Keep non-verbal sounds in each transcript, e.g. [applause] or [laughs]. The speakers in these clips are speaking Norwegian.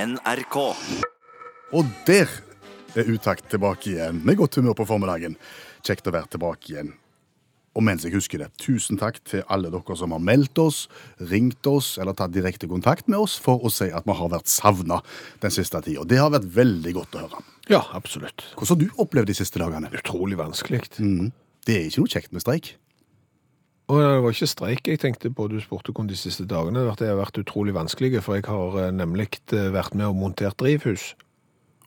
NRK. Og der er Utakt tilbake igjen med godt humør på formiddagen. Kjekt å være tilbake igjen. Og mens jeg husker det, tusen takk til alle dere som har meldt oss, ringt oss eller tatt direkte kontakt med oss for å si at vi har vært savna den siste tida. Det har vært veldig godt å høre. Ja, absolutt. Hvordan har du opplevd de siste dagene? Utrolig vanskelig. Mm. Det er ikke noe kjekt med streik. Og det var ikke streik jeg tenkte på, du spurte om de siste dagene, at det har vært utrolig vanskelig, for jeg har eh, nemlig eh, vært med og montert drivhus.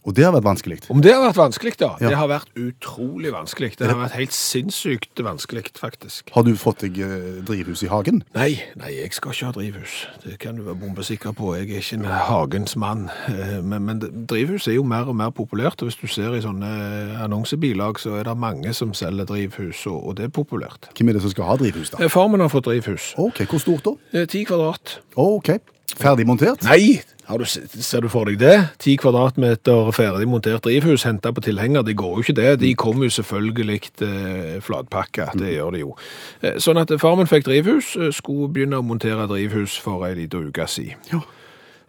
Og det har vært vanskelig. Om det har vært vanskelig, da? Ja. Det har vært utrolig vanskelig. Det har vært helt sinnssykt vanskelig, faktisk. Har du fått deg eh, drivhus i hagen? Nei, nei, jeg skal ikke ha drivhus. Det kan du være bombesikker på. Jeg er ikke en hagens mann. Eh, Men, men drivhus er jo mer og mer populært. Og hvis du ser i sånne eh, annonsebilag, så er det mange som selger drivhus, og, og det er populært. Hvem er det som skal ha drivhus, da? Eh, Farmen har fått drivhus. OK, hvor stort da? Eh, Ti kvadrat. OK, ferdig montert? Nei! Har du, se- ser du for deg det? Ti kvadratmeter ferdig montert drivhus, henta på tilhenger. Det går jo ikke det. De kommer jo selvfølgelig eh, flatpakka. Det gjør de jo. Eh, Sånn at farmen fikk drivhus, eh, skulle begynne å montere drivhus for ei lita uke siden. Ja.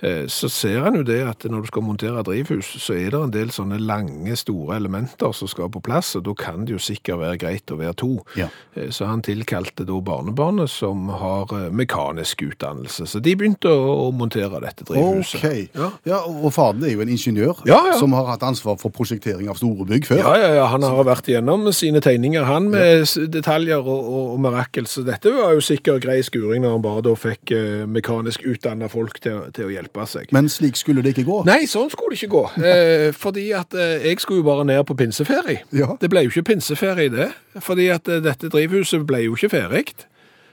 Eh, Så ser en jo det at når du skal montere drivhus, så er det en del sånne lange, store elementer som skal på plass, og da kan det jo sikkert være greit å være to. Ja. Eh, Så han tilkalte da barnebarnet som har eh, mekanisk utdannelse, så de begynte å, å montere dette drivhuset. Ok. Ja. Ja. og og faren er jo en ingeniør Ja, ja. som har hatt ansvar for prosjektering av store bygg før. Ja, ja, ja, han har vært igjennom sine tegninger, han, med s- detaljer og, og, og mirakel, så dette var jo sikkert grei skuring når han bare da fikk eh, mekanisk utdannet folk til, å- til å hjelpe seg. Men slik skulle det ikke gå. Nei, sånn skulle det ikke gå. Eh, fordi at eh, jeg skulle jo bare ned på pinseferie. Ja. Det ble jo ikke pinseferie det, fordi at eh, dette drivhuset ble jo ikke ferdig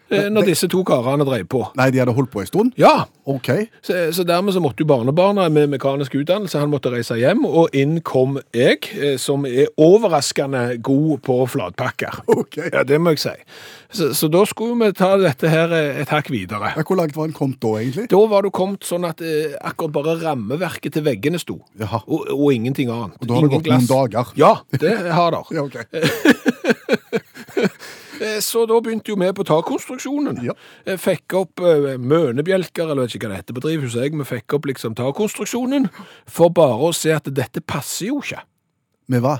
eh, når disse to karene drev på. Nei, de hadde holdt på en stund. Ja, Ok. så, så dermed så måtte jo barnebarna med mekanisk utdannelse, han måtte reise hjem, og inn kom jeg, eh, som er overraskende god på flatpakker. Ok. Ja, det må jeg si. Så, så da skulle vi ta dette her eh, et hakk videre. Ja, hvor langt var han kommet da, egentlig? Da var du kommet sånn at eh, akkurat bare rammeverket til veggene sto, Jaha. og, og ingenting annet. Og da har det Ingen gått noen glass. dager. Ja, det har det. Ja, ok. Eh, Så da begynte jo vi på takkonstruksjonen. Ja. Eh, Fikk opp eh, mønebjelker, eller jeg vet ikke hva det heter på drivhuset, jeg, vi fikk opp liksom takkonstruksjonen, for bare å se at dette passer jo ikke. Med hva?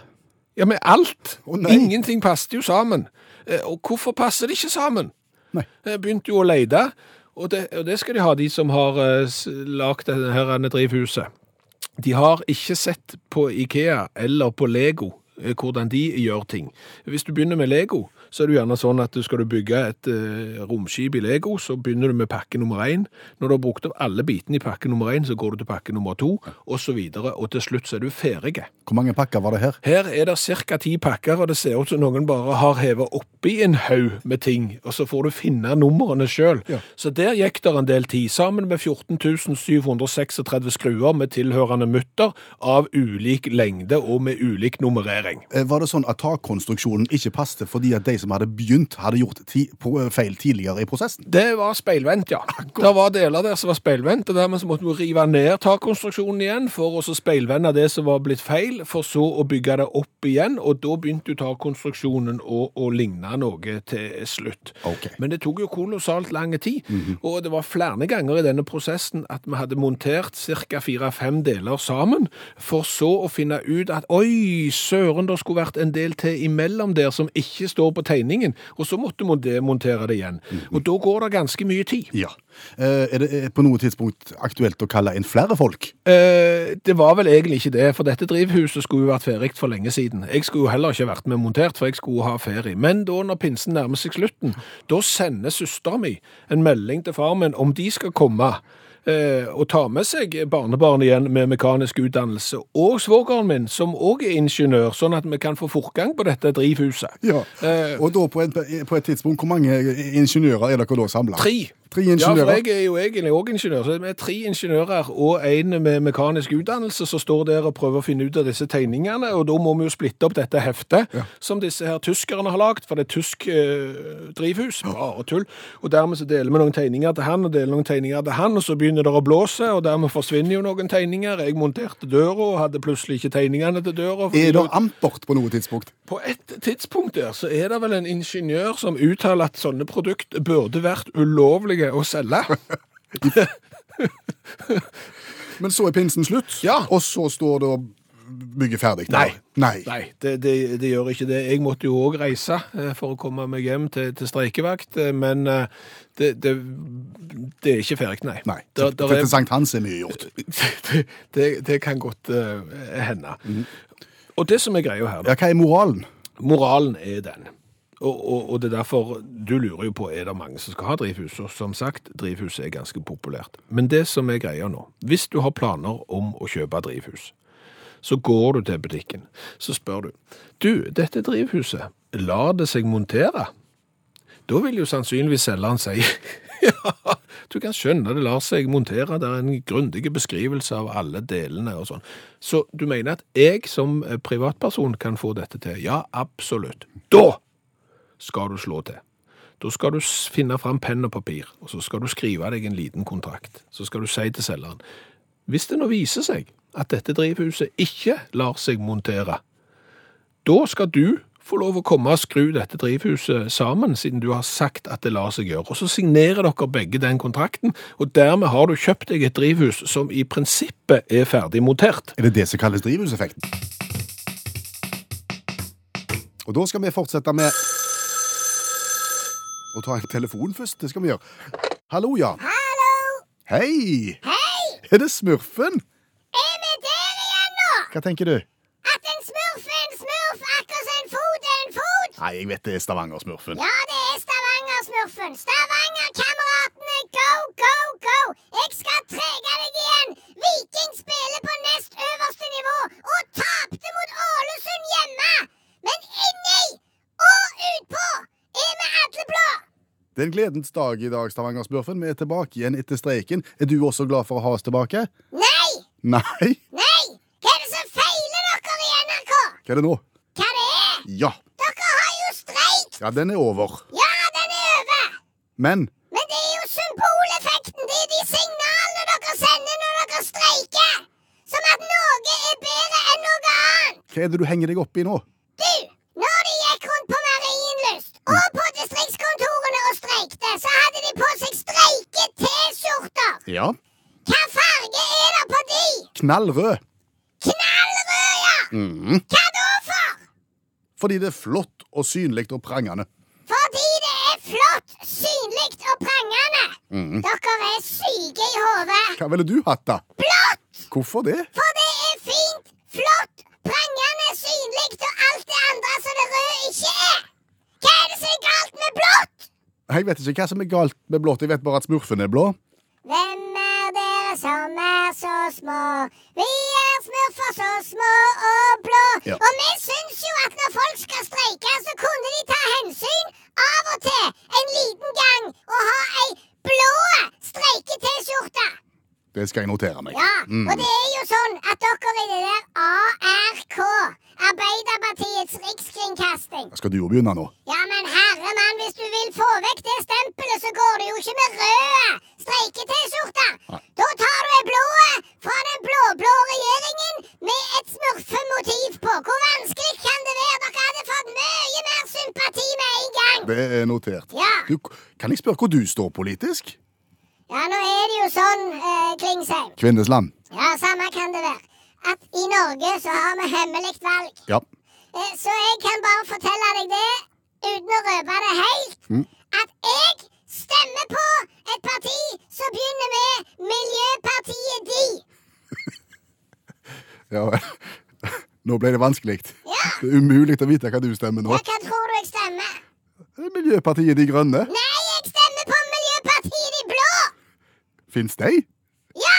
Ja, med alt. Å, nei. Ingenting passet jo sammen. Eh, Og hvorfor passer det ikke sammen? Nei. Jeg Eh, begynte jo å leide, og det, og det skal de ha, de som har eh, s- lagt dette her ene drivhuset. De har ikke sett på Ikea eller på Lego eh, hvordan de gjør ting. Hvis du begynner med Lego, så er det jo gjerne sånn at du skal du bygge et eh, romskip i Lego, så begynner du med pakke nummer én. Når du har brukt opp alle bitene i pakke nummer én, så går du til pakke nummer to, og så videre, og til slutt så er du ferdig. Hvor mange pakker var det her? Her er det ca. ti pakker, og det ser ut som noen bare har hevet oppi en haug med ting, og så får du finne numrene sjøl. Ja. Så der gikk der en del tid, sammen med 14 736 skruer med tilhørende mutter av ulik lengde og med ulik nummerering. Eh, Var det sånn at takkonstruksjonen ikke passte fordi at de som hadde begynt, hadde gjort ti på- eh, feil tidligere i prosessen? Det var speilvendt, ja. Det var deler der som var speilvendt, og dermed så måtte vi rive ned takkonstruksjonen igjen for å så speilvende det som var blitt feil, for så å bygge det opp igjen, og da begynte jo takkonstruksjonen å, å ligne noe til slutt. Ok. Men det tok jo kolossalt lang tid, og det var flere ganger i denne prosessen at vi hadde montert ca. fire-fem deler sammen, for så å finne ut at oi, søren, det skulle vært en del til imellom der som ikke står på tegningen, og så måtte vi demontere det igjen. Og da går det ganske mye tid. Ja. Eh, Er det eh, på noe tidspunkt aktuelt å kalle inn flere folk? Eh, det var vel egentlig ikke det, for dette drivhuset skulle jo vært ferdig for lenge siden. Jeg skulle jo heller ikke vært med montert, for jeg skulle ha ferie. Men da når pinsen nærmer seg slutten, da sender søsteren min en melding til far min om de skal komme eh, og ta med seg barnebarnet igjen med mekanisk utdannelse, og svogeren min, som òg er ingeniør, sånn at vi kan få fortgang på dette drivhuset. Ja. Eh. Og da på, en, på et tidspunkt, hvor mange ingeniører er dere da samla? Tre. Tre Ja, for ingeniører? jeg er jo egentlig òg ingeniør, så vi er tre ingeniører og en med mekanisk utdannelse som står der og prøver å finne ut av disse tegningene, og da må vi jo splitte opp dette heftet som disse her tyskerne har lagd, for det er tysk eh, drivhus, bare tull, og dermed så deler vi noen tegninger til han, og deler noen tegninger til han, og så begynner det å blåse, og dermed forsvinner jo noen tegninger. Jeg monterte døra og hadde plutselig ikke tegningene til døra. fordi Er det- det ampert på noe tidspunkt? på et tidspunkt der, så er det vel en ingeniør som uttaler at sånne [laughs] produkt burde vært ulovlige å selge. Men så er pinsen slutt, Ja. og så står det og bygger ferdig. der. Nei. Nei. Nei, det, det, det gjør ikke det. Jeg måtte jo òg reise eh, for å komme meg hjem til, til streikevakt, eh, men eh, det, det, det er ikke ferdig, nei. Nei. Der, der Født er, til Sankt Hans er mye gjort. [laughs] det, det, det kan godt eh, hende. Og det som er greia her, Mm. da, Ja, hva er moralen? moralen er den. Og, og, og det er derfor du lurer jo på er det mange som skal ha drivhus. Og som sagt, drivhus er ganske populært. Men det som er greia nå Hvis du har planer om å kjøpe drivhus, så går du til butikken. Så spør du Du, dette drivhuset, lar det seg montere? Da vil jo sannsynligvis selgeren si [laughs] ja, du kan skjønne det lar seg montere. Det er en grundig beskrivelse av alle delene og sånn. Så du mener at jeg som eh, privatperson kan få dette til? Ja, absolutt. Da skal du slå til. Da skal du s- finne fram penn og papir, og så skal du skrive deg en liten kontrakt. Så skal du si til selgeren hvis det nå viser seg at dette drivhuset ikke lar seg montere, da skal du få lov å komme og skru dette drivhuset sammen, siden du har sagt at det lar seg gjøre. Og så signerer dere begge den kontrakten, og dermed har du kjøpt deg et drivhus som i prinsippet er ferdig montert. Er det det som kalles drivhuseffekten? Og da skal vi fortsette med å ta en telefon først. Det skal vi gjøre. Hallo, ja. Hallo! Hei! Hei! Er det Smurfen? Er vi der igjen nå? Hva tenker du? At en smurf er en smurf, akkurat som en fot er en fot? Nei, jeg vet det er Stavanger-Smurfen. Ja, det er Stavanger-smurfen. Stavanger-kameratene, go, go, go! Jeg skal trege deg igjen! Viking spiller på nest øverste nivå og tapte mot Ålesund hjemme! Men inni og utpå er vi alle blå! Det er en gledens dag i dag, Stavanger-Smurfen. Vi er tilbake igjen etter streiken. Er du også glad for å ha oss tilbake? Nei! Nei? [laughs] Nei! Hva er det som feiler dere i NRK? Hva er det nå? Hva det er? Ja. Dere har jo streik! Ja, den er over. Ja, den er over! Men Men det er jo symboleffekten. Det er de signalene dere sender når dere streiker. Som at noe er bedre enn noe annet. hva er det du henger deg opp i nå? Du, når de gikk rundt på Marienlyst og på distriktskontorene og streikte, så hadde de på seg streike-T-skjorter. Ja. Hva farge er det på de? Knallrød. Knallrød, ja. Mhm. Hva da for? Fordi det er flott og synlig og prangende. Fordi det er flott, synlig og prangende. Dere er syke i hodet. Hva ville du hatt, da? Blått! Hvorfor det? For det er fint, flott, prangende, synlig og alt det andre som det røde ikke er. Hva er det som er galt med blått? Jeg vet ikke hva som er galt med blått. Jeg vet bare at smurfen er blå. Hvem er dere som er så små? Vi er smurfer så små og blå. Ja. Og vi syns jo at når folk skal streike, så kunne de ta hensyn av og til en liten gang og ha ei blå streike-T-skjorte. Det skal jeg notere meg. Mm. Ja, og det er jo sånn at dere i det der ARK, Arbeiderpartiets rikskringkasting Skal du jo begynne nå? Ja, men herre mann, hvis du vil få vekk det stempelet, så går det jo ikke med røde streike-T-skjorter. Nei. Da tar du ei blå fra den blå-blå regjeringen med et smurfemotiv på. Hvor vanskelig kan det være? Dere hadde fått mye mer sympati med en gang. Det er notert. Ja. Du, kan jeg spørre hvor du står politisk? Ja, nå er det jo sånn, eh, Klingsheim. Kvinnesland. Ja, samme kan det være. At i Norge så har vi hemmelig valg. Ja. Eh, Så jeg kan bare fortelle deg det, uten å røpe det helt, at jeg stemmer på et parti som begynner med Miljøpartiet De. ja. Nå ble det vanskelig. Det er umulig å vite hva du stemmer nå. Ja, hva tror du jeg stemmer? Miljøpartiet De Grønne. Nei, jeg stemmer på Miljøpartiet De Blå! Fins de? Ja!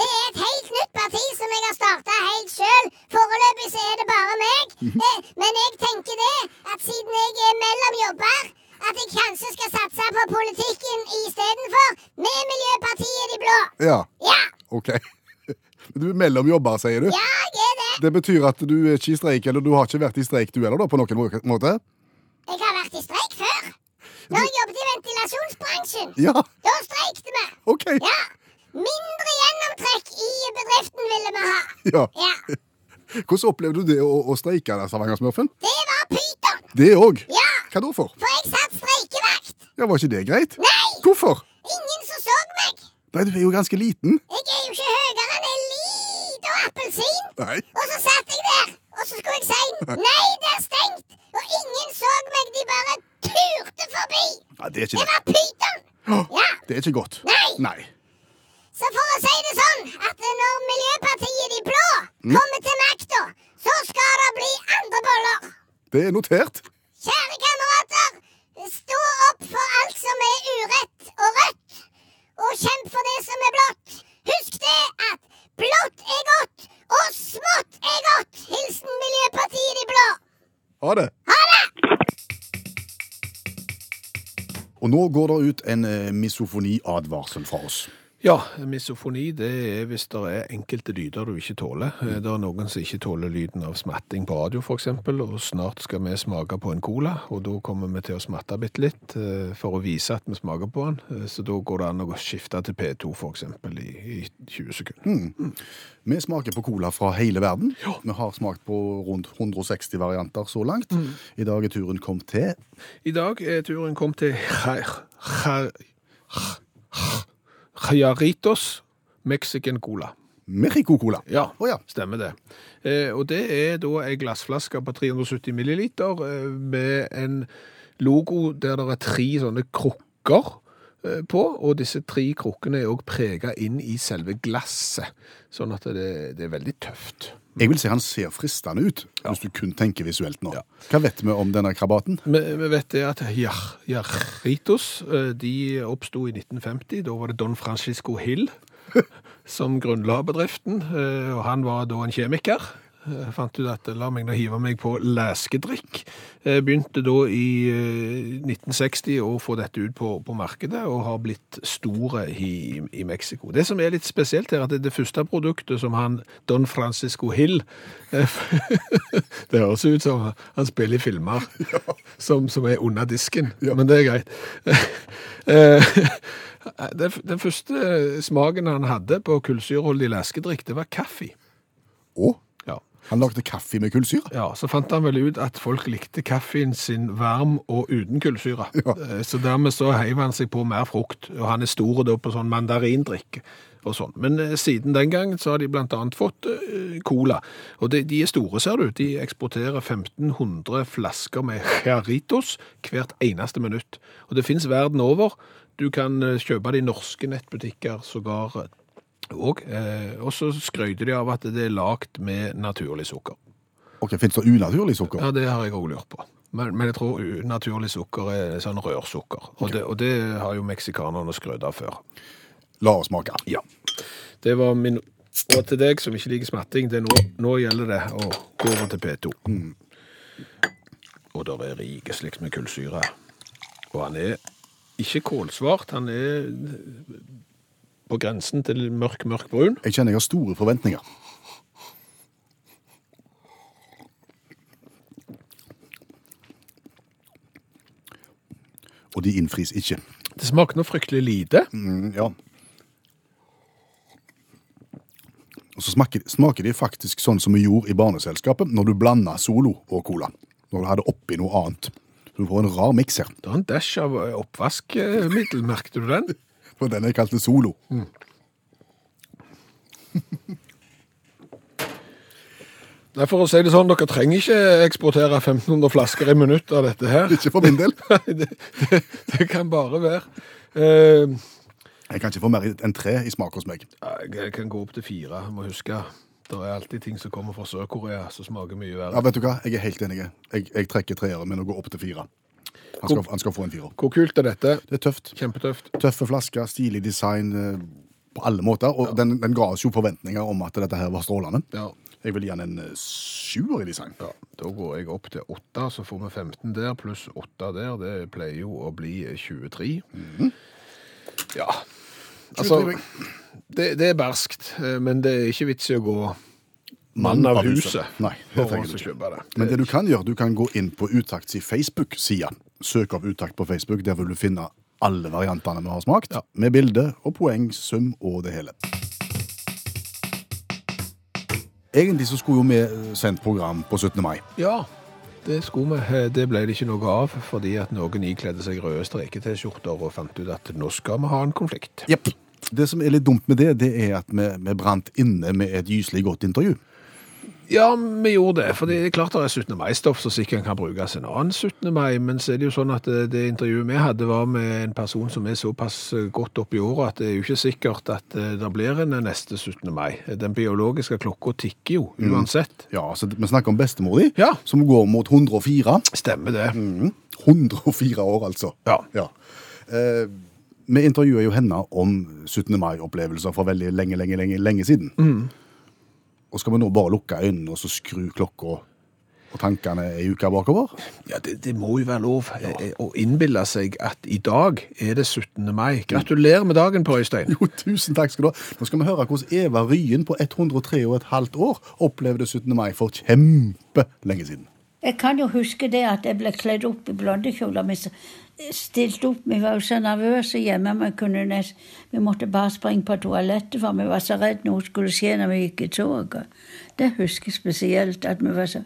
Det er et helt nytt parti som jeg har starta helt sjøl. Foreløpig så er det bare meg. Eh, Men jeg tenker det, at siden jeg er mellom jobber, at jeg kanskje skal satse på politikken istedenfor, med Miljøpartiet De Blå. Ja. Ja! OK. Du er mellom jobber, sier du? Ja, jeg er det. Det betyr at du er ikke i streik, eller du har ikke vært i streik du heller, da, på noen må- måte? Jeg har vært i streik før. Når jeg jobbet i ventilasjonsbransjen. Ja, Da streikte vi. OK. Ja. Mindre gjennomtrekk i bedriften ville vi ha. Ja. Ja. Hvordan opplevde du det å, å streike der, Stavanger-smurfen? Det var pyton. Det òg. Ja. Hva da for? For jeg satt streikevakt. Ja, Var ikke det greit? Nei! Hvorfor? Ingen som så meg. Nei, du er jo ganske liten. Jeg er jo ikke høyere enn ei Nei. Og så satt jeg der, og så skulle jeg si nei, det er stengt. Og ingen så meg, de bare turte forbi. Nei, det er ikke Det det. var pyton. Ja, Det er ikke godt. Nei. Nei. så for å si det sånn, at når Miljøpartiet De Blå kommer til makta, så skal det bli andre boller. Det er notert. Kjære kamerater, stå opp for alt som er urett og rødt, og kjemp for det som er blått. Husk det at blått er godt, og smått er godt. Hilsen Miljøpartiet De Blå. Ha det. Og nå går det ut en eh, misofoniadvarsel fra oss. Ja, misofoni det er hvis det er enkelte lyder du ikke tåler. Eh, Det er noen som ikke tåler lyden av smatting på radio f.eks., og snart skal vi smake på en cola, og da kommer vi til å smatte bitte litt eh, for å vise at vi smaker på den. Eh, Så da går det an å skifte til P2 f.eks. I, i 20 sekunder. Vi smaker på cola fra hele verden. Vi har smakt på rundt 160 varianter så langt. Mm. I dag er turen kommet til I dag er turen kommet til Jair- Jair- Jair- Jaritos Mexican Cola. Mexico-cola. Ja, Å ja. stemmer det. Eh, og det er da ei glassflaske på 370 milliliter eh, med en logo der det er tre sånne krukker eh, på, og disse tre krukkene er òg prega inn i selve glasset, sånn at det, det er veldig tøft. Jeg vil si han ser fristende ut, hvis du kun tenker visuelt nå. Hva vet vi om denne krabaten? Vi, vi vet det at Jar- Jarritos eh, de oppsto i 1950. Da var det Don Francisco Hill [laughs] som grunnla bedriften. eh, Og han var da en kjemiker. Eh, Fant ut at la meg nå hive meg på leskedrikk. Eh, Begynte da i eh, 1960 å få dette ut på, på markedet, og har blitt store i, i Mexico. Det som er litt spesielt her, at det, det første produktet som han Don Francisco Hill det høres ut som han spiller i filmer som, som er under disken, men det er greit. [laughs] Eh, den, f- den første smaken han hadde på kullsyreholdig leskedrikk, det var kaffe. Å, Ja. han lagde kaffe med kullsyre? ja, Så fant han vel ut at folk likte kaffen sin varm og uten kullsyre. Eh, Så dermed så heiv han seg på mer frukt, og han er stor da på sånn mandarindrikk. Og sånn. Men eh, siden den gang så har de blant annet fått eh, cola. Og de, de er store, ser du. De eksporterer 1500 flasker med Charitos hvert eneste minutt. Og det finnes verden over. Du kan eh, kjøpe det i norske nettbutikker, sågar eh, og, eh, og så skrøyter de av at det er lagd med naturlig sukker. Ok, Fins det unaturlig sukker? Ja, det har jeg òg lurt på. Men, men jeg tror u- naturlig sukker er sånn rørsukker. Og, det, og det har jo meksikanerne skrøt av før. La oss smake. Ja. Det var min Og til deg som ikke liker smatting, det er nå, nå gjelder det å gå over til P2. Og der er rike slikt med kullsyre. Og han er ikke kålsvart, han er på grensen til mørk, mørk brun. Jeg kjenner jeg har store forventninger. Og de innfris ikke. Det smaker noe fryktelig lite. Mm, ja. Og så smaker, smaker de faktisk sånn som vi gjorde i barneselskapet når du blanda Solo og Cola. Når du hadde oppi noe annet. Så du får en rar miks her. Det er en dash av eh, oppvaskmiddel, merket du den? For den jeg kalte Solo. Nei, for å si det sånn, dere trenger ikke eksportere 1500 flasker i minutt av dette her. [laughs] Ikke for min del. det, det, det kan bare være. Eh, Jeg kan ikke få mer enn tre i smak hos meg. jeg kan gå opp til fire, jeg må huske. Det er alltid ting som kommer fra Sør-Korea som smaker mye Ja, verre. vet du hva? Jeg er helt enig. Jeg, jeg trekker treeren min og går opp til fire. Han skal, han skal få en firer. Hvor kult er dette? Det er tøft. Kjempetøft. Tøffe flasker, stilig design eh, på alle måter. Og den, den ga oss jo forventninger om at dette her var strålende. Ja. Jeg vil gi den en eh, sjuer i design. ja. Da går jeg opp til åtte, så får vi 15 der, pluss åtte der. Det pleier jo å bli 23. Ja. Altså, Sjuer, det, det er berskt, eh, men det er ikke vits i å gå mann av huset. Nei, det for trenger å du ikke. kjøpe det. Men det du kan gjøre, du kan gå inn på Utakts Facebook-side. Søk opp Utakt på Facebook. Der vil du finne alle variantene vi har smakt, med bilde og poeng, sum og det hele. Egentlig så skulle jo vi eh, sendt program på 17. mai. Ja, det skulle vi. Eh, Det ble det ikke noe av, fordi at noen ikledde seg røde streker-T-skjorter og fant ut at nå skal vi ha en konflikt. Jepp. Det som er litt dumt med det, det er at vi, vi brant inne med et gyselig godt intervju. Ja, vi gjorde det. For det er klart det er 17. mai-stoff som sikkert kan brukes en annen 17. mai, men så er det jo sånn at det, det intervjuet vi hadde var med en person som er såpass eh, godt opp i året at det er jo ikke sikkert at eh, det blir en neste 17. mai. Den biologiske klokka tikker jo uansett. Ja, altså, Vi snakker om bestemor di, Ja. som går mot 104. Stemmer det. 104 år, altså. Ja. Eh, vi intervjuet jo henne om 17. mai-opplevelser fra veldig lenge, lenge, lenge, lenge siden. Og skal vi nå bare lukke øynene og så skru klokka og tankene ei uke bakover? [laughs] Ja, det, det må jo være lov eh, å innbille seg at i dag er det 17. mai. Gratulerer med dagen, Per Øystein. Jo, tusen takk skal du ha. Nå skal vi høre hvordan Eva Ryen på 103 og et halvt år opplevde 17. mai for kjempelenge siden. Jeg kan jo huske det at jeg ble kledd opp i blondekjoler. Vi s- stilte opp, vi var jo så nervøse hjemme. Vi, kunne nest, vi måtte bare springe på toalettet, for vi var så redd noe skulle skje når vi gikk i toget. Det husker jeg spesielt, at vi var så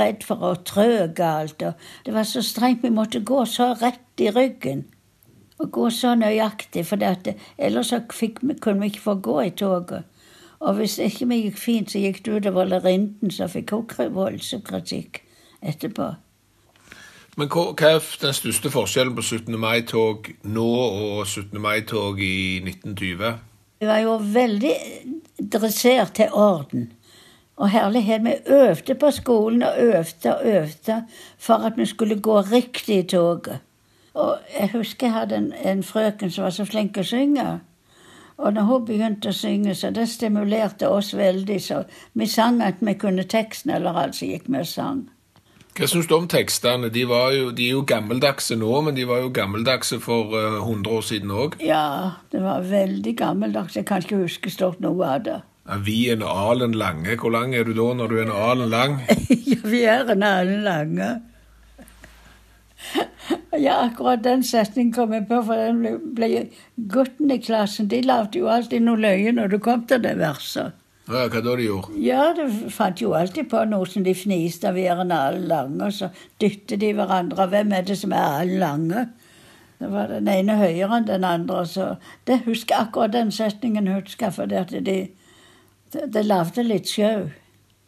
redd for å trø galt. Og det var så strengt, vi måtte gå så rett i ryggen. Og gå så nøyaktig, for det at, ellers så fikk, vi- kunne vi ikke få gå i toget. Og hvis ikke vi gikk fint, så gikk det utover lærerinnen, så fikk hun kri- voldsom kritikk etterpå. Men hva, hva er den største forskjellen på 17. mai-tog nå og 17. mai-tog i 1920? Vi var jo veldig dressert til orden. Og herlighet, vi øvde på skolen og øvde og øvde for at vi skulle gå riktig i toget. Og jeg husker jeg hadde en, en frøken som var så flink å synge. Og når hun begynte å synge, så det stimulerte oss veldig. Så vi sang at vi kunne teksten, eller altså gikk vi og sang. Hva syns du om tekstene? De, var jo, de er jo gammeldagse nå, men de var jo gammeldagse for eh, 100 år siden òg. Ja, det var veldig gammeldags. Jeg kan ikke huske stort noe av det. Vi er en alen lange. Hvor lang er du da når du er en alen lang? [laughs] ja, vi er en annen lange. Ja, akkurat den setningen kom jeg på, for den ble, ble guttene i klassen De lagde jo alltid noe løye når du kom til det verset. Ja, hva da de gjorde? Ja, det fant jo alltid på noe som de fniste av, vi er en annen lange, og så dyttet de hverandre. Hvem er det som er annen lange? Det var den ene høyere enn den andre, så det husker akkurat den setningen husker, jeg, for det at de det, det lagde litt sjau.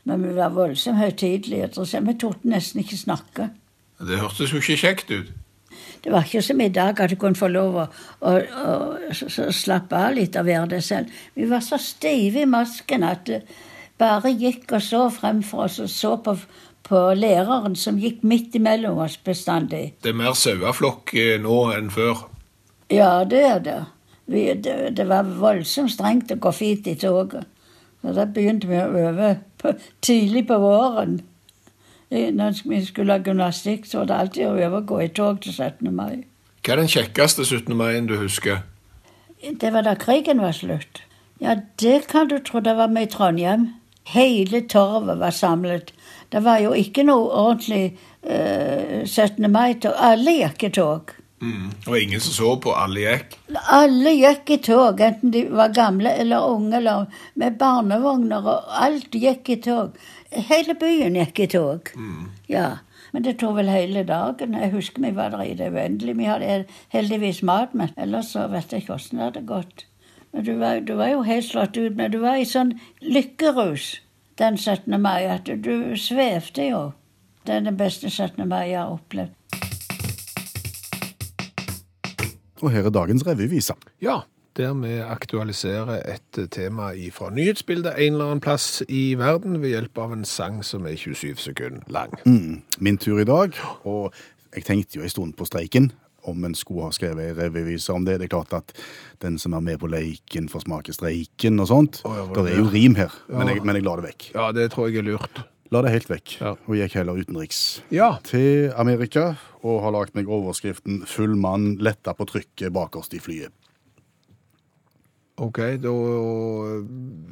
Men vi var voldsomt høytidelige. tror jeg. Vi torde nesten ikke snakke. Det hørtes jo ikke kjekt ut. Det var ikke som i dag, at du kunne få lov å, å, å s- s- slappe av litt og være det selv. Vi var så stive i masken at det bare gikk og så fremfor oss og så på, på læreren som gikk midt imellom oss bestandig. Det er mer saueflokk eh, nå enn før. Ja, det er det. Vi, det, det var voldsomt strengt å gå fint i toget. Så da begynte vi å øve på, tidlig på våren. I- Når vi skulle ha gymnastikk, så var det alltid å øve å gå i tog til 17. mai. Hva er den kjekkeste 17. mai-en du husker? Det var da krigen var slutt. Ja, det kan du tro. Det var med i Trondheim. Hele torvet var samlet. Det var jo ikke noe ordentlig eh, 17. mai-tog. Alle gikk i tog. Mm. Det var ingen som så på, alle gikk. Alle gikk i tog, enten de var gamle eller unge, eller med barnevogner, og alt gikk i tog. Hele byen gikk i tog. Ja. Men det tok vel hele dagen. Jeg husker vi var der i det uendelige. Vi hadde heldigvis mat, men ellers så vet jeg ikke åssen det hadde gått. Men du var, du var jo helt slått ut, men du var i sånn lykkerus den 17. mai at du svevde jo. Det er den beste 17. mai jeg har opplevd. Og her er dagens revyvise. Ja, der vi aktualiserer et tema fra nyhetsbildet en eller annen plass i verden ved hjelp av en sang som er 27 sekunder lang. Mm, min tur i dag, og jeg tenkte jo en stund på streiken. Om en skulle ha skrevet en revyvise om det. Det er klart at den som er med på leiken, får smake streiken og sånt. Å, ja, var det det er jo det? rim her, men, jeg, men jeg la det vekk. Ja, det tror jeg er lurt. La det helt vekk, Ja. og gikk heller utenriks. Ja, til Amerika og har lagt meg overskriften 'Full mann letta på trykket bakerst i flyet'. ok, da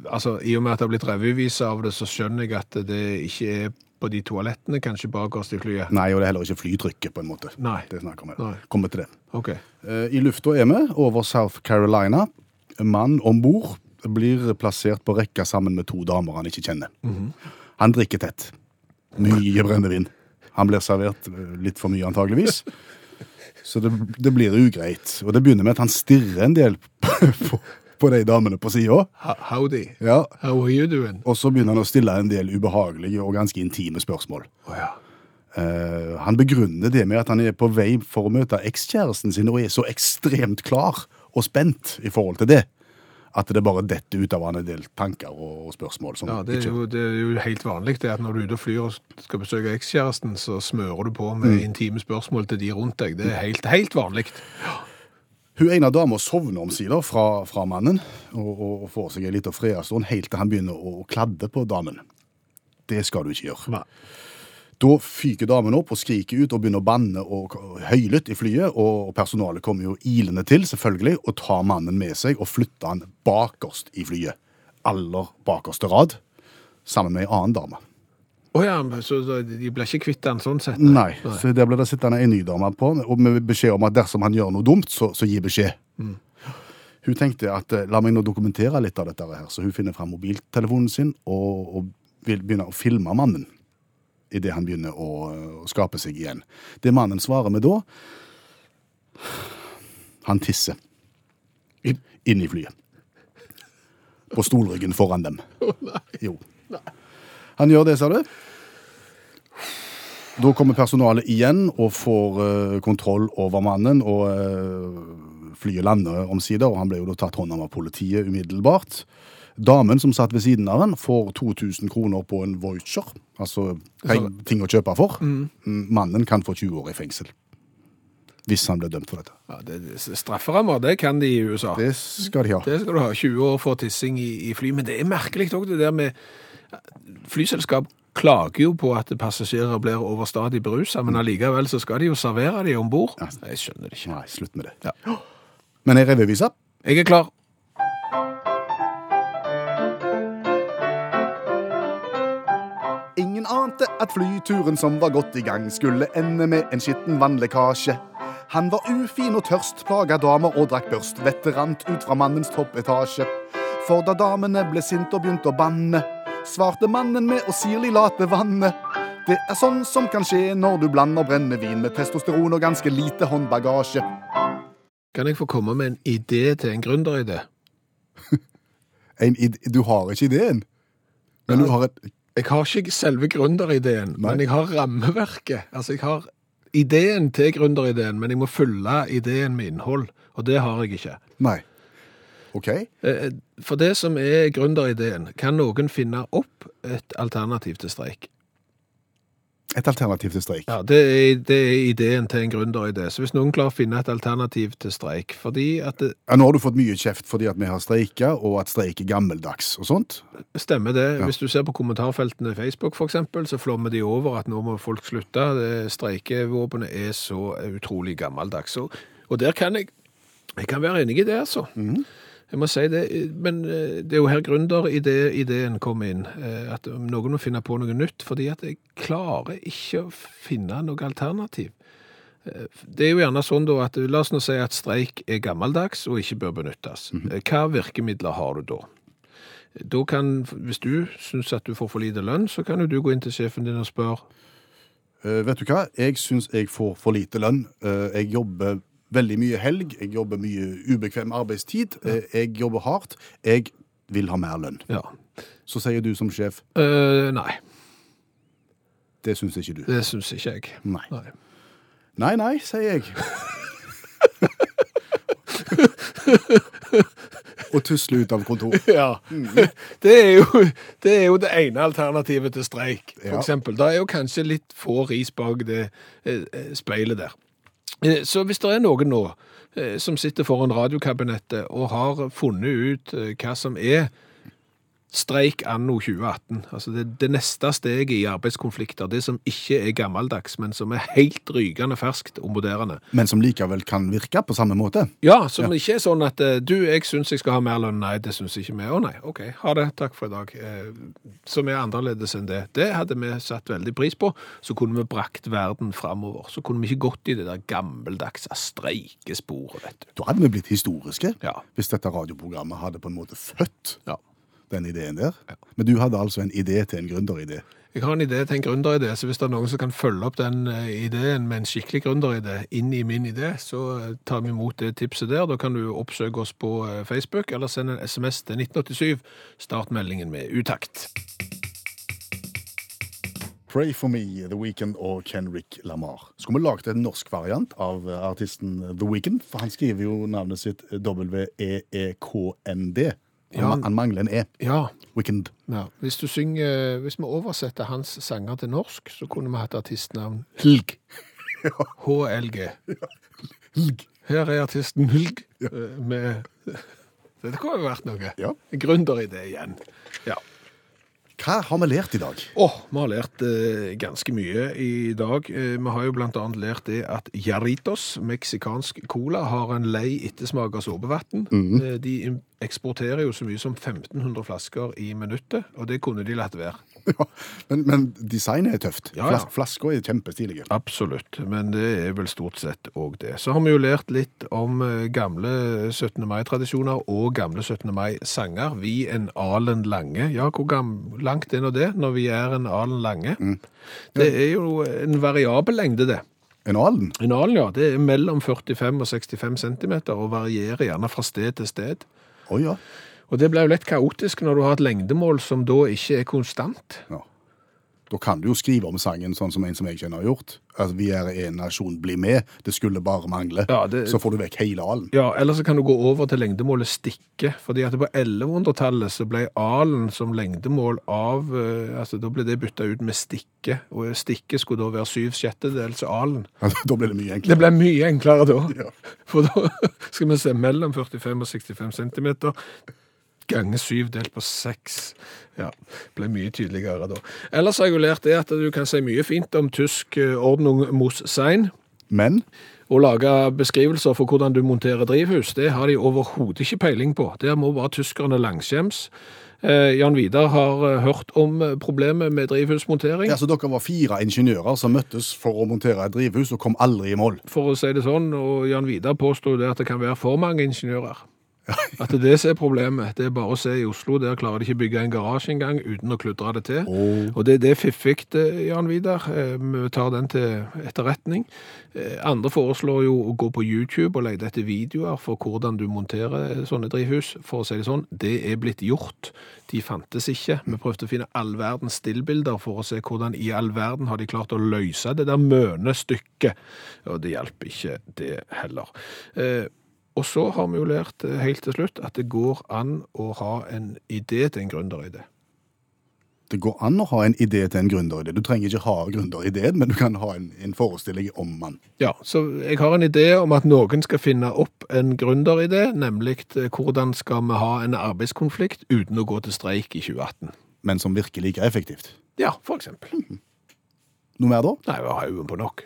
Altså, i og med at det har blitt revyvise av det, så skjønner jeg at det ikke er på de toalettene, kanskje bakerst i flyet. Nei, og det er heller ikke flytrykket, på en måte. Nei. Det snakker vi om Nei. her. Kommer til det. Ok. Eh, I lufta er vi over South Carolina. En mann om bord blir plassert på rekka sammen med to damer han ikke kjenner. Han drikker tett. Mye brennevin. Han blir servert eh, litt for mye, antageligvis. Så det, det blir ugreit. Og det begynner med at han stirrer en del [laughs] på, på, på de damene på sida. Ho- Howdy. Ja. How are you doing? Og så begynner han å stille en del ubehagelige og ganske intime spørsmål. Å ja. Eh, han begrunner det med at han er på vei for å møte ekskjæresten sin og er så ekstremt klar og spent i forhold til det, at det bare detter ut av han en del tanker og, og spørsmål. Som Ja, det er, ikke, jo, det er jo helt vanlig det at når du er ute og flyr og skal besøke ekskjæresten, så smører du på med Mm. intime spørsmål til de rundt deg. Det er helt, helt vanlig. Hun ene dama sovner omsider fra, fra mannen og, og, og får seg en liten fredagstund helt til han begynner å kladde på damen. Det skal du ikke gjøre. Da fyker damen opp og skriker ut og begynner å banne og k- høylytt i flyet, og personalet kommer jo ilende til, selvfølgelig, og tar mannen med seg og flytter han bakerst i flyet. Aller bakerste rad, sammen med ei annen dame. Å ja, så så de blir ikke kvitt den sånn sett? Nei, så der ble det sittende ei ny dame på, og med beskjed om at dersom han gjør noe dumt, så, så gi beskjed. Hun tenkte at eh, la meg nå dokumentere litt av dette her, så hun finner fram mobiltelefonen sin og, og vil begynne å filme mannen idet han begynner å, eh, å skape seg igjen. Det mannen svarer med da Han tisser I- inn i flyet. På stolryggen foran dem. Jo. Han gjør det, sa du? Da kommer personalet igjen og får eh, kontroll over mannen, og eh, flyet lander omsider, og han ble jo da tatt hånd om av politiet umiddelbart. Damen som satt ved siden av han, får 2000 kroner på en voucher, altså peng, ting å kjøpe for. Mm, Mannen kan få 20 år i fengsel. Hvis han blir dømt for dette. Ja, det, det- strafferammer, det kan de i USA. Det skal de ha. Det skal du ha. 20 år for tissing i, i fly. Men det er merkelig òg, det der med Flyselskap klager jo på at passasjerer blir overstadig berusa, Mm. men allikevel så skal de jo servere de om bord. Jeg skjønner det ikke. Nei, slutt med det. Ja. Men ei revyvise? Jeg er klar. Ingen ante at flyturen som var godt i gang, skulle ende med en skitten vannlekkasje. Han var ufin og tørst, plaga damer og drakk børst. Vettet rant ut fra mannens toppetasje. For da damene ble sinte og begynte å banne, svarte mannen med å sirlig late vanne. Det er sånn som kan skje når du blander brennevin med testosteron og ganske lite håndbagasje. Kan jeg få komme med en idé til en gründeridé? du har ikke ideen, men du har et Jeg har ikke selve gründerideen, Nei. men jeg har rammeverket. Altså, jeg har ideen til gründerideen, men jeg må fylle ideen med innhold, og det har jeg ikke. Nei. OK? Eh, For det som er gründerideen, kan noen finne opp et alternativ til streik. Et alternativ til streik. Ja, det er, det er ideen til en gründeridé. Så hvis noen klarer å finne et alternativ til streik, fordi at det Ja, nå har du fått mye kjeft fordi at vi har streika, og at streik er gammeldags og sånt. Stemmer det. Ja. Hvis du ser på kommentarfeltene i Facebook for eksempel, så flommer de over at nå må folk slutte. Det- Streikevåpenet er så utrolig gammeldags. Og, og der kan jeg, jeg kan være enig i det, altså. Jeg må si det, men eh, det er jo her gründerideen kom inn. eh, At noen må finne på noe nytt, fordi at jeg klarer ikke å finne noe alternativ. Eh, Det er jo gjerne sånn da at, la oss nå si at streik er gammeldags og ikke bør benyttes. Eh, Hva virkemidler har du da? Da kan, hvis du syns at du får for lite lønn, så kan jo du gå inn til sjefen din og spørre Eh, vet du hva? Jeg syns jeg får for lite lønn. Eh, jeg jobber veldig mye helg. Jeg jobber mye ubekvem arbeidstid. Eh, jeg jobber hardt. Jeg vil ha mer lønn. Ja. Så sier du som sjef Eh, nei, det syns ikke du. det syns ikke jeg. Nei. Nei. Nei, nei, sier [laughs] jeg. og tusler ut av kontoret. [laughs] Ja. Det er, jo, det er jo det ene alternativet til streik, for Ja. eksempel. Da er jo kanskje litt få ris bak det eh, eh, speilet der. Eh, Så hvis det er noen nå eh, som sitter foran radiokabinettet og har funnet ut eh, hva som er streik anno 2018, altså det, det neste steget i arbeidskonflikter, det som ikke er gammeldags, men som er helt rykende ferskt og moderne, Men som likevel kan virke på samme måte. ja, som ikke er sånn at eh, du, jeg syns jeg skal ha mer lønn. Nei, det syns ikke vi. Å nei, OK, ha det. Takk for i dag. Eh, som er annerledes enn det. Det hadde vi satt veldig pris på. Så kunne vi brakt verden framover. Så kunne vi ikke gått i det der gammeldagse streikesporet, vet du. Da hadde vi blitt historiske Ja. hvis dette radioprogrammet hadde på en måte født ja. den ideen der. Men du hadde altså en idé til en gründeridé. Jeg har en idé til en gründeridé, så hvis det er noen som kan følge opp den eh, ideen med en skikkelig gründeridé inn i min idé, så eh, tar vi imot det tipset der. Da kan du oppsøke oss på eh, Facebook, eller send en SMS til 1987. Start meldingen med utakt. Pray for me, The Weekend og Kenrick Lamar. Skulle vi lagd en norsk variant av eh, artisten The Weekend? For han skriver jo navnet sitt eh, E W-E-E-K-N-D. Han, Ja. han mangler en E. Ja. Weekend. Hvis du synger Hvis vi oversetter hans sanger til norsk, så kunne vi hatt artistnavn Hylg. HLG. Helg. Her er artisten Hylg eh, med Dette kunne jo vært noe. Ja. En gründeridé igjen. Ja. Hva har vi lært i dag? Åh, vi har lært eh, ganske mye i dag. Eh, vi har jo blant annet lært det at Jarritos, meksikansk cola, har en lei ettersmak av såpevann. Eh, de im- eksporterer jo så mye som 1500 flasker i minuttet, og det kunne de latt være. [laughs] Ja, men, men designet er tøft. Ja, ja. Flas Flasker er kjempestilige. Absolutt, men det er vel stort sett òg det. Så har vi jo lært litt om eh, gamle 17. mai-tradisjoner og gamle 17. mai-sanger. Vi en alen lange. Ja, hvor gam langt er nå det, når vi er en alen lange? Det er jo en variabel lengde, det. En alen? En alen, ja, det er mellom 45 og 65 cm, og varierer gjerne fra sted til sted. Å ja. Og det blir jo lett kaotisk når du har et lengdemål som da ikke er konstant. ja. Da kan du jo skrive om sangen sånn som en som jeg kjenner har gjort. At vi er en nasjon, bli med. Det skulle bare mangle. Ja, det- Så får du vekk hele alen. Ja, eller så kan du gå over til lengdemålet stikke, fordi at på 1100-tallet så ble alen som lengdemål av, eh, altså da ble det byttet ut med stikke, og stikke skulle da være syv sjettedels alen. Da blir det mye Det enklere. ble mye enklere da, Ja. for da [laughs] skal vi se mellom 45 og 65 centimeter, gange syv delt på seks. Ja, ble mye tydeligere da. Ellers har jeg jo lært det at du kan si mye fint om tysk eh, ordnung mos sein, Men å lage beskrivelser for hvordan du monterer drivhus, det har de overhodet ikke peiling på. Der må bare tyskerne langskjems. Eh, Jan Vidar har eh, hørt om eh, problemet med drivhusmontering. Ja, så dere var fire ingeniører som møttes for å montere et drivhus og kom aldri i mål. For å si det sånn, og Jan Vidar påstår jo det at det kan være for mange ingeniører. [laughs] At det er det som er problemet. Det er bare å se i Oslo, der klarer de ikke bygge en garasje engang uten å kludre det til. Og det, det er fiffig, eh, Jan Vidar. Eh, Vi tar den til etterretning. Eh, Andre foreslår jo å gå på YouTube og lete etter videoer for hvordan du monterer sånne drivhus. For å si det sånn, det er blitt gjort. De fantes ikke. Vi prøvde å finne all verdens stillbilder for å se hvordan i all verden har de klart å løse det der mønestykket. Og det hjelper ikke det heller. Eh, og så har vi jo lært eh, helt til slutt at det går an å ha en idé til en gründeridé. Det går an å ha en idé til en gründeridé. Du trenger ikke ha gründerideen, men du kan ha en, en forestilling om den. Ja, så jeg har en idé om at noen skal finne opp en gründeridé, nemlig eh, hvordan skal vi ha en arbeidskonflikt uten å gå til streik i 2018. Men som virker like effektivt. Ja, for eksempel. Noe mer da? Nei, vi har øynene på nok.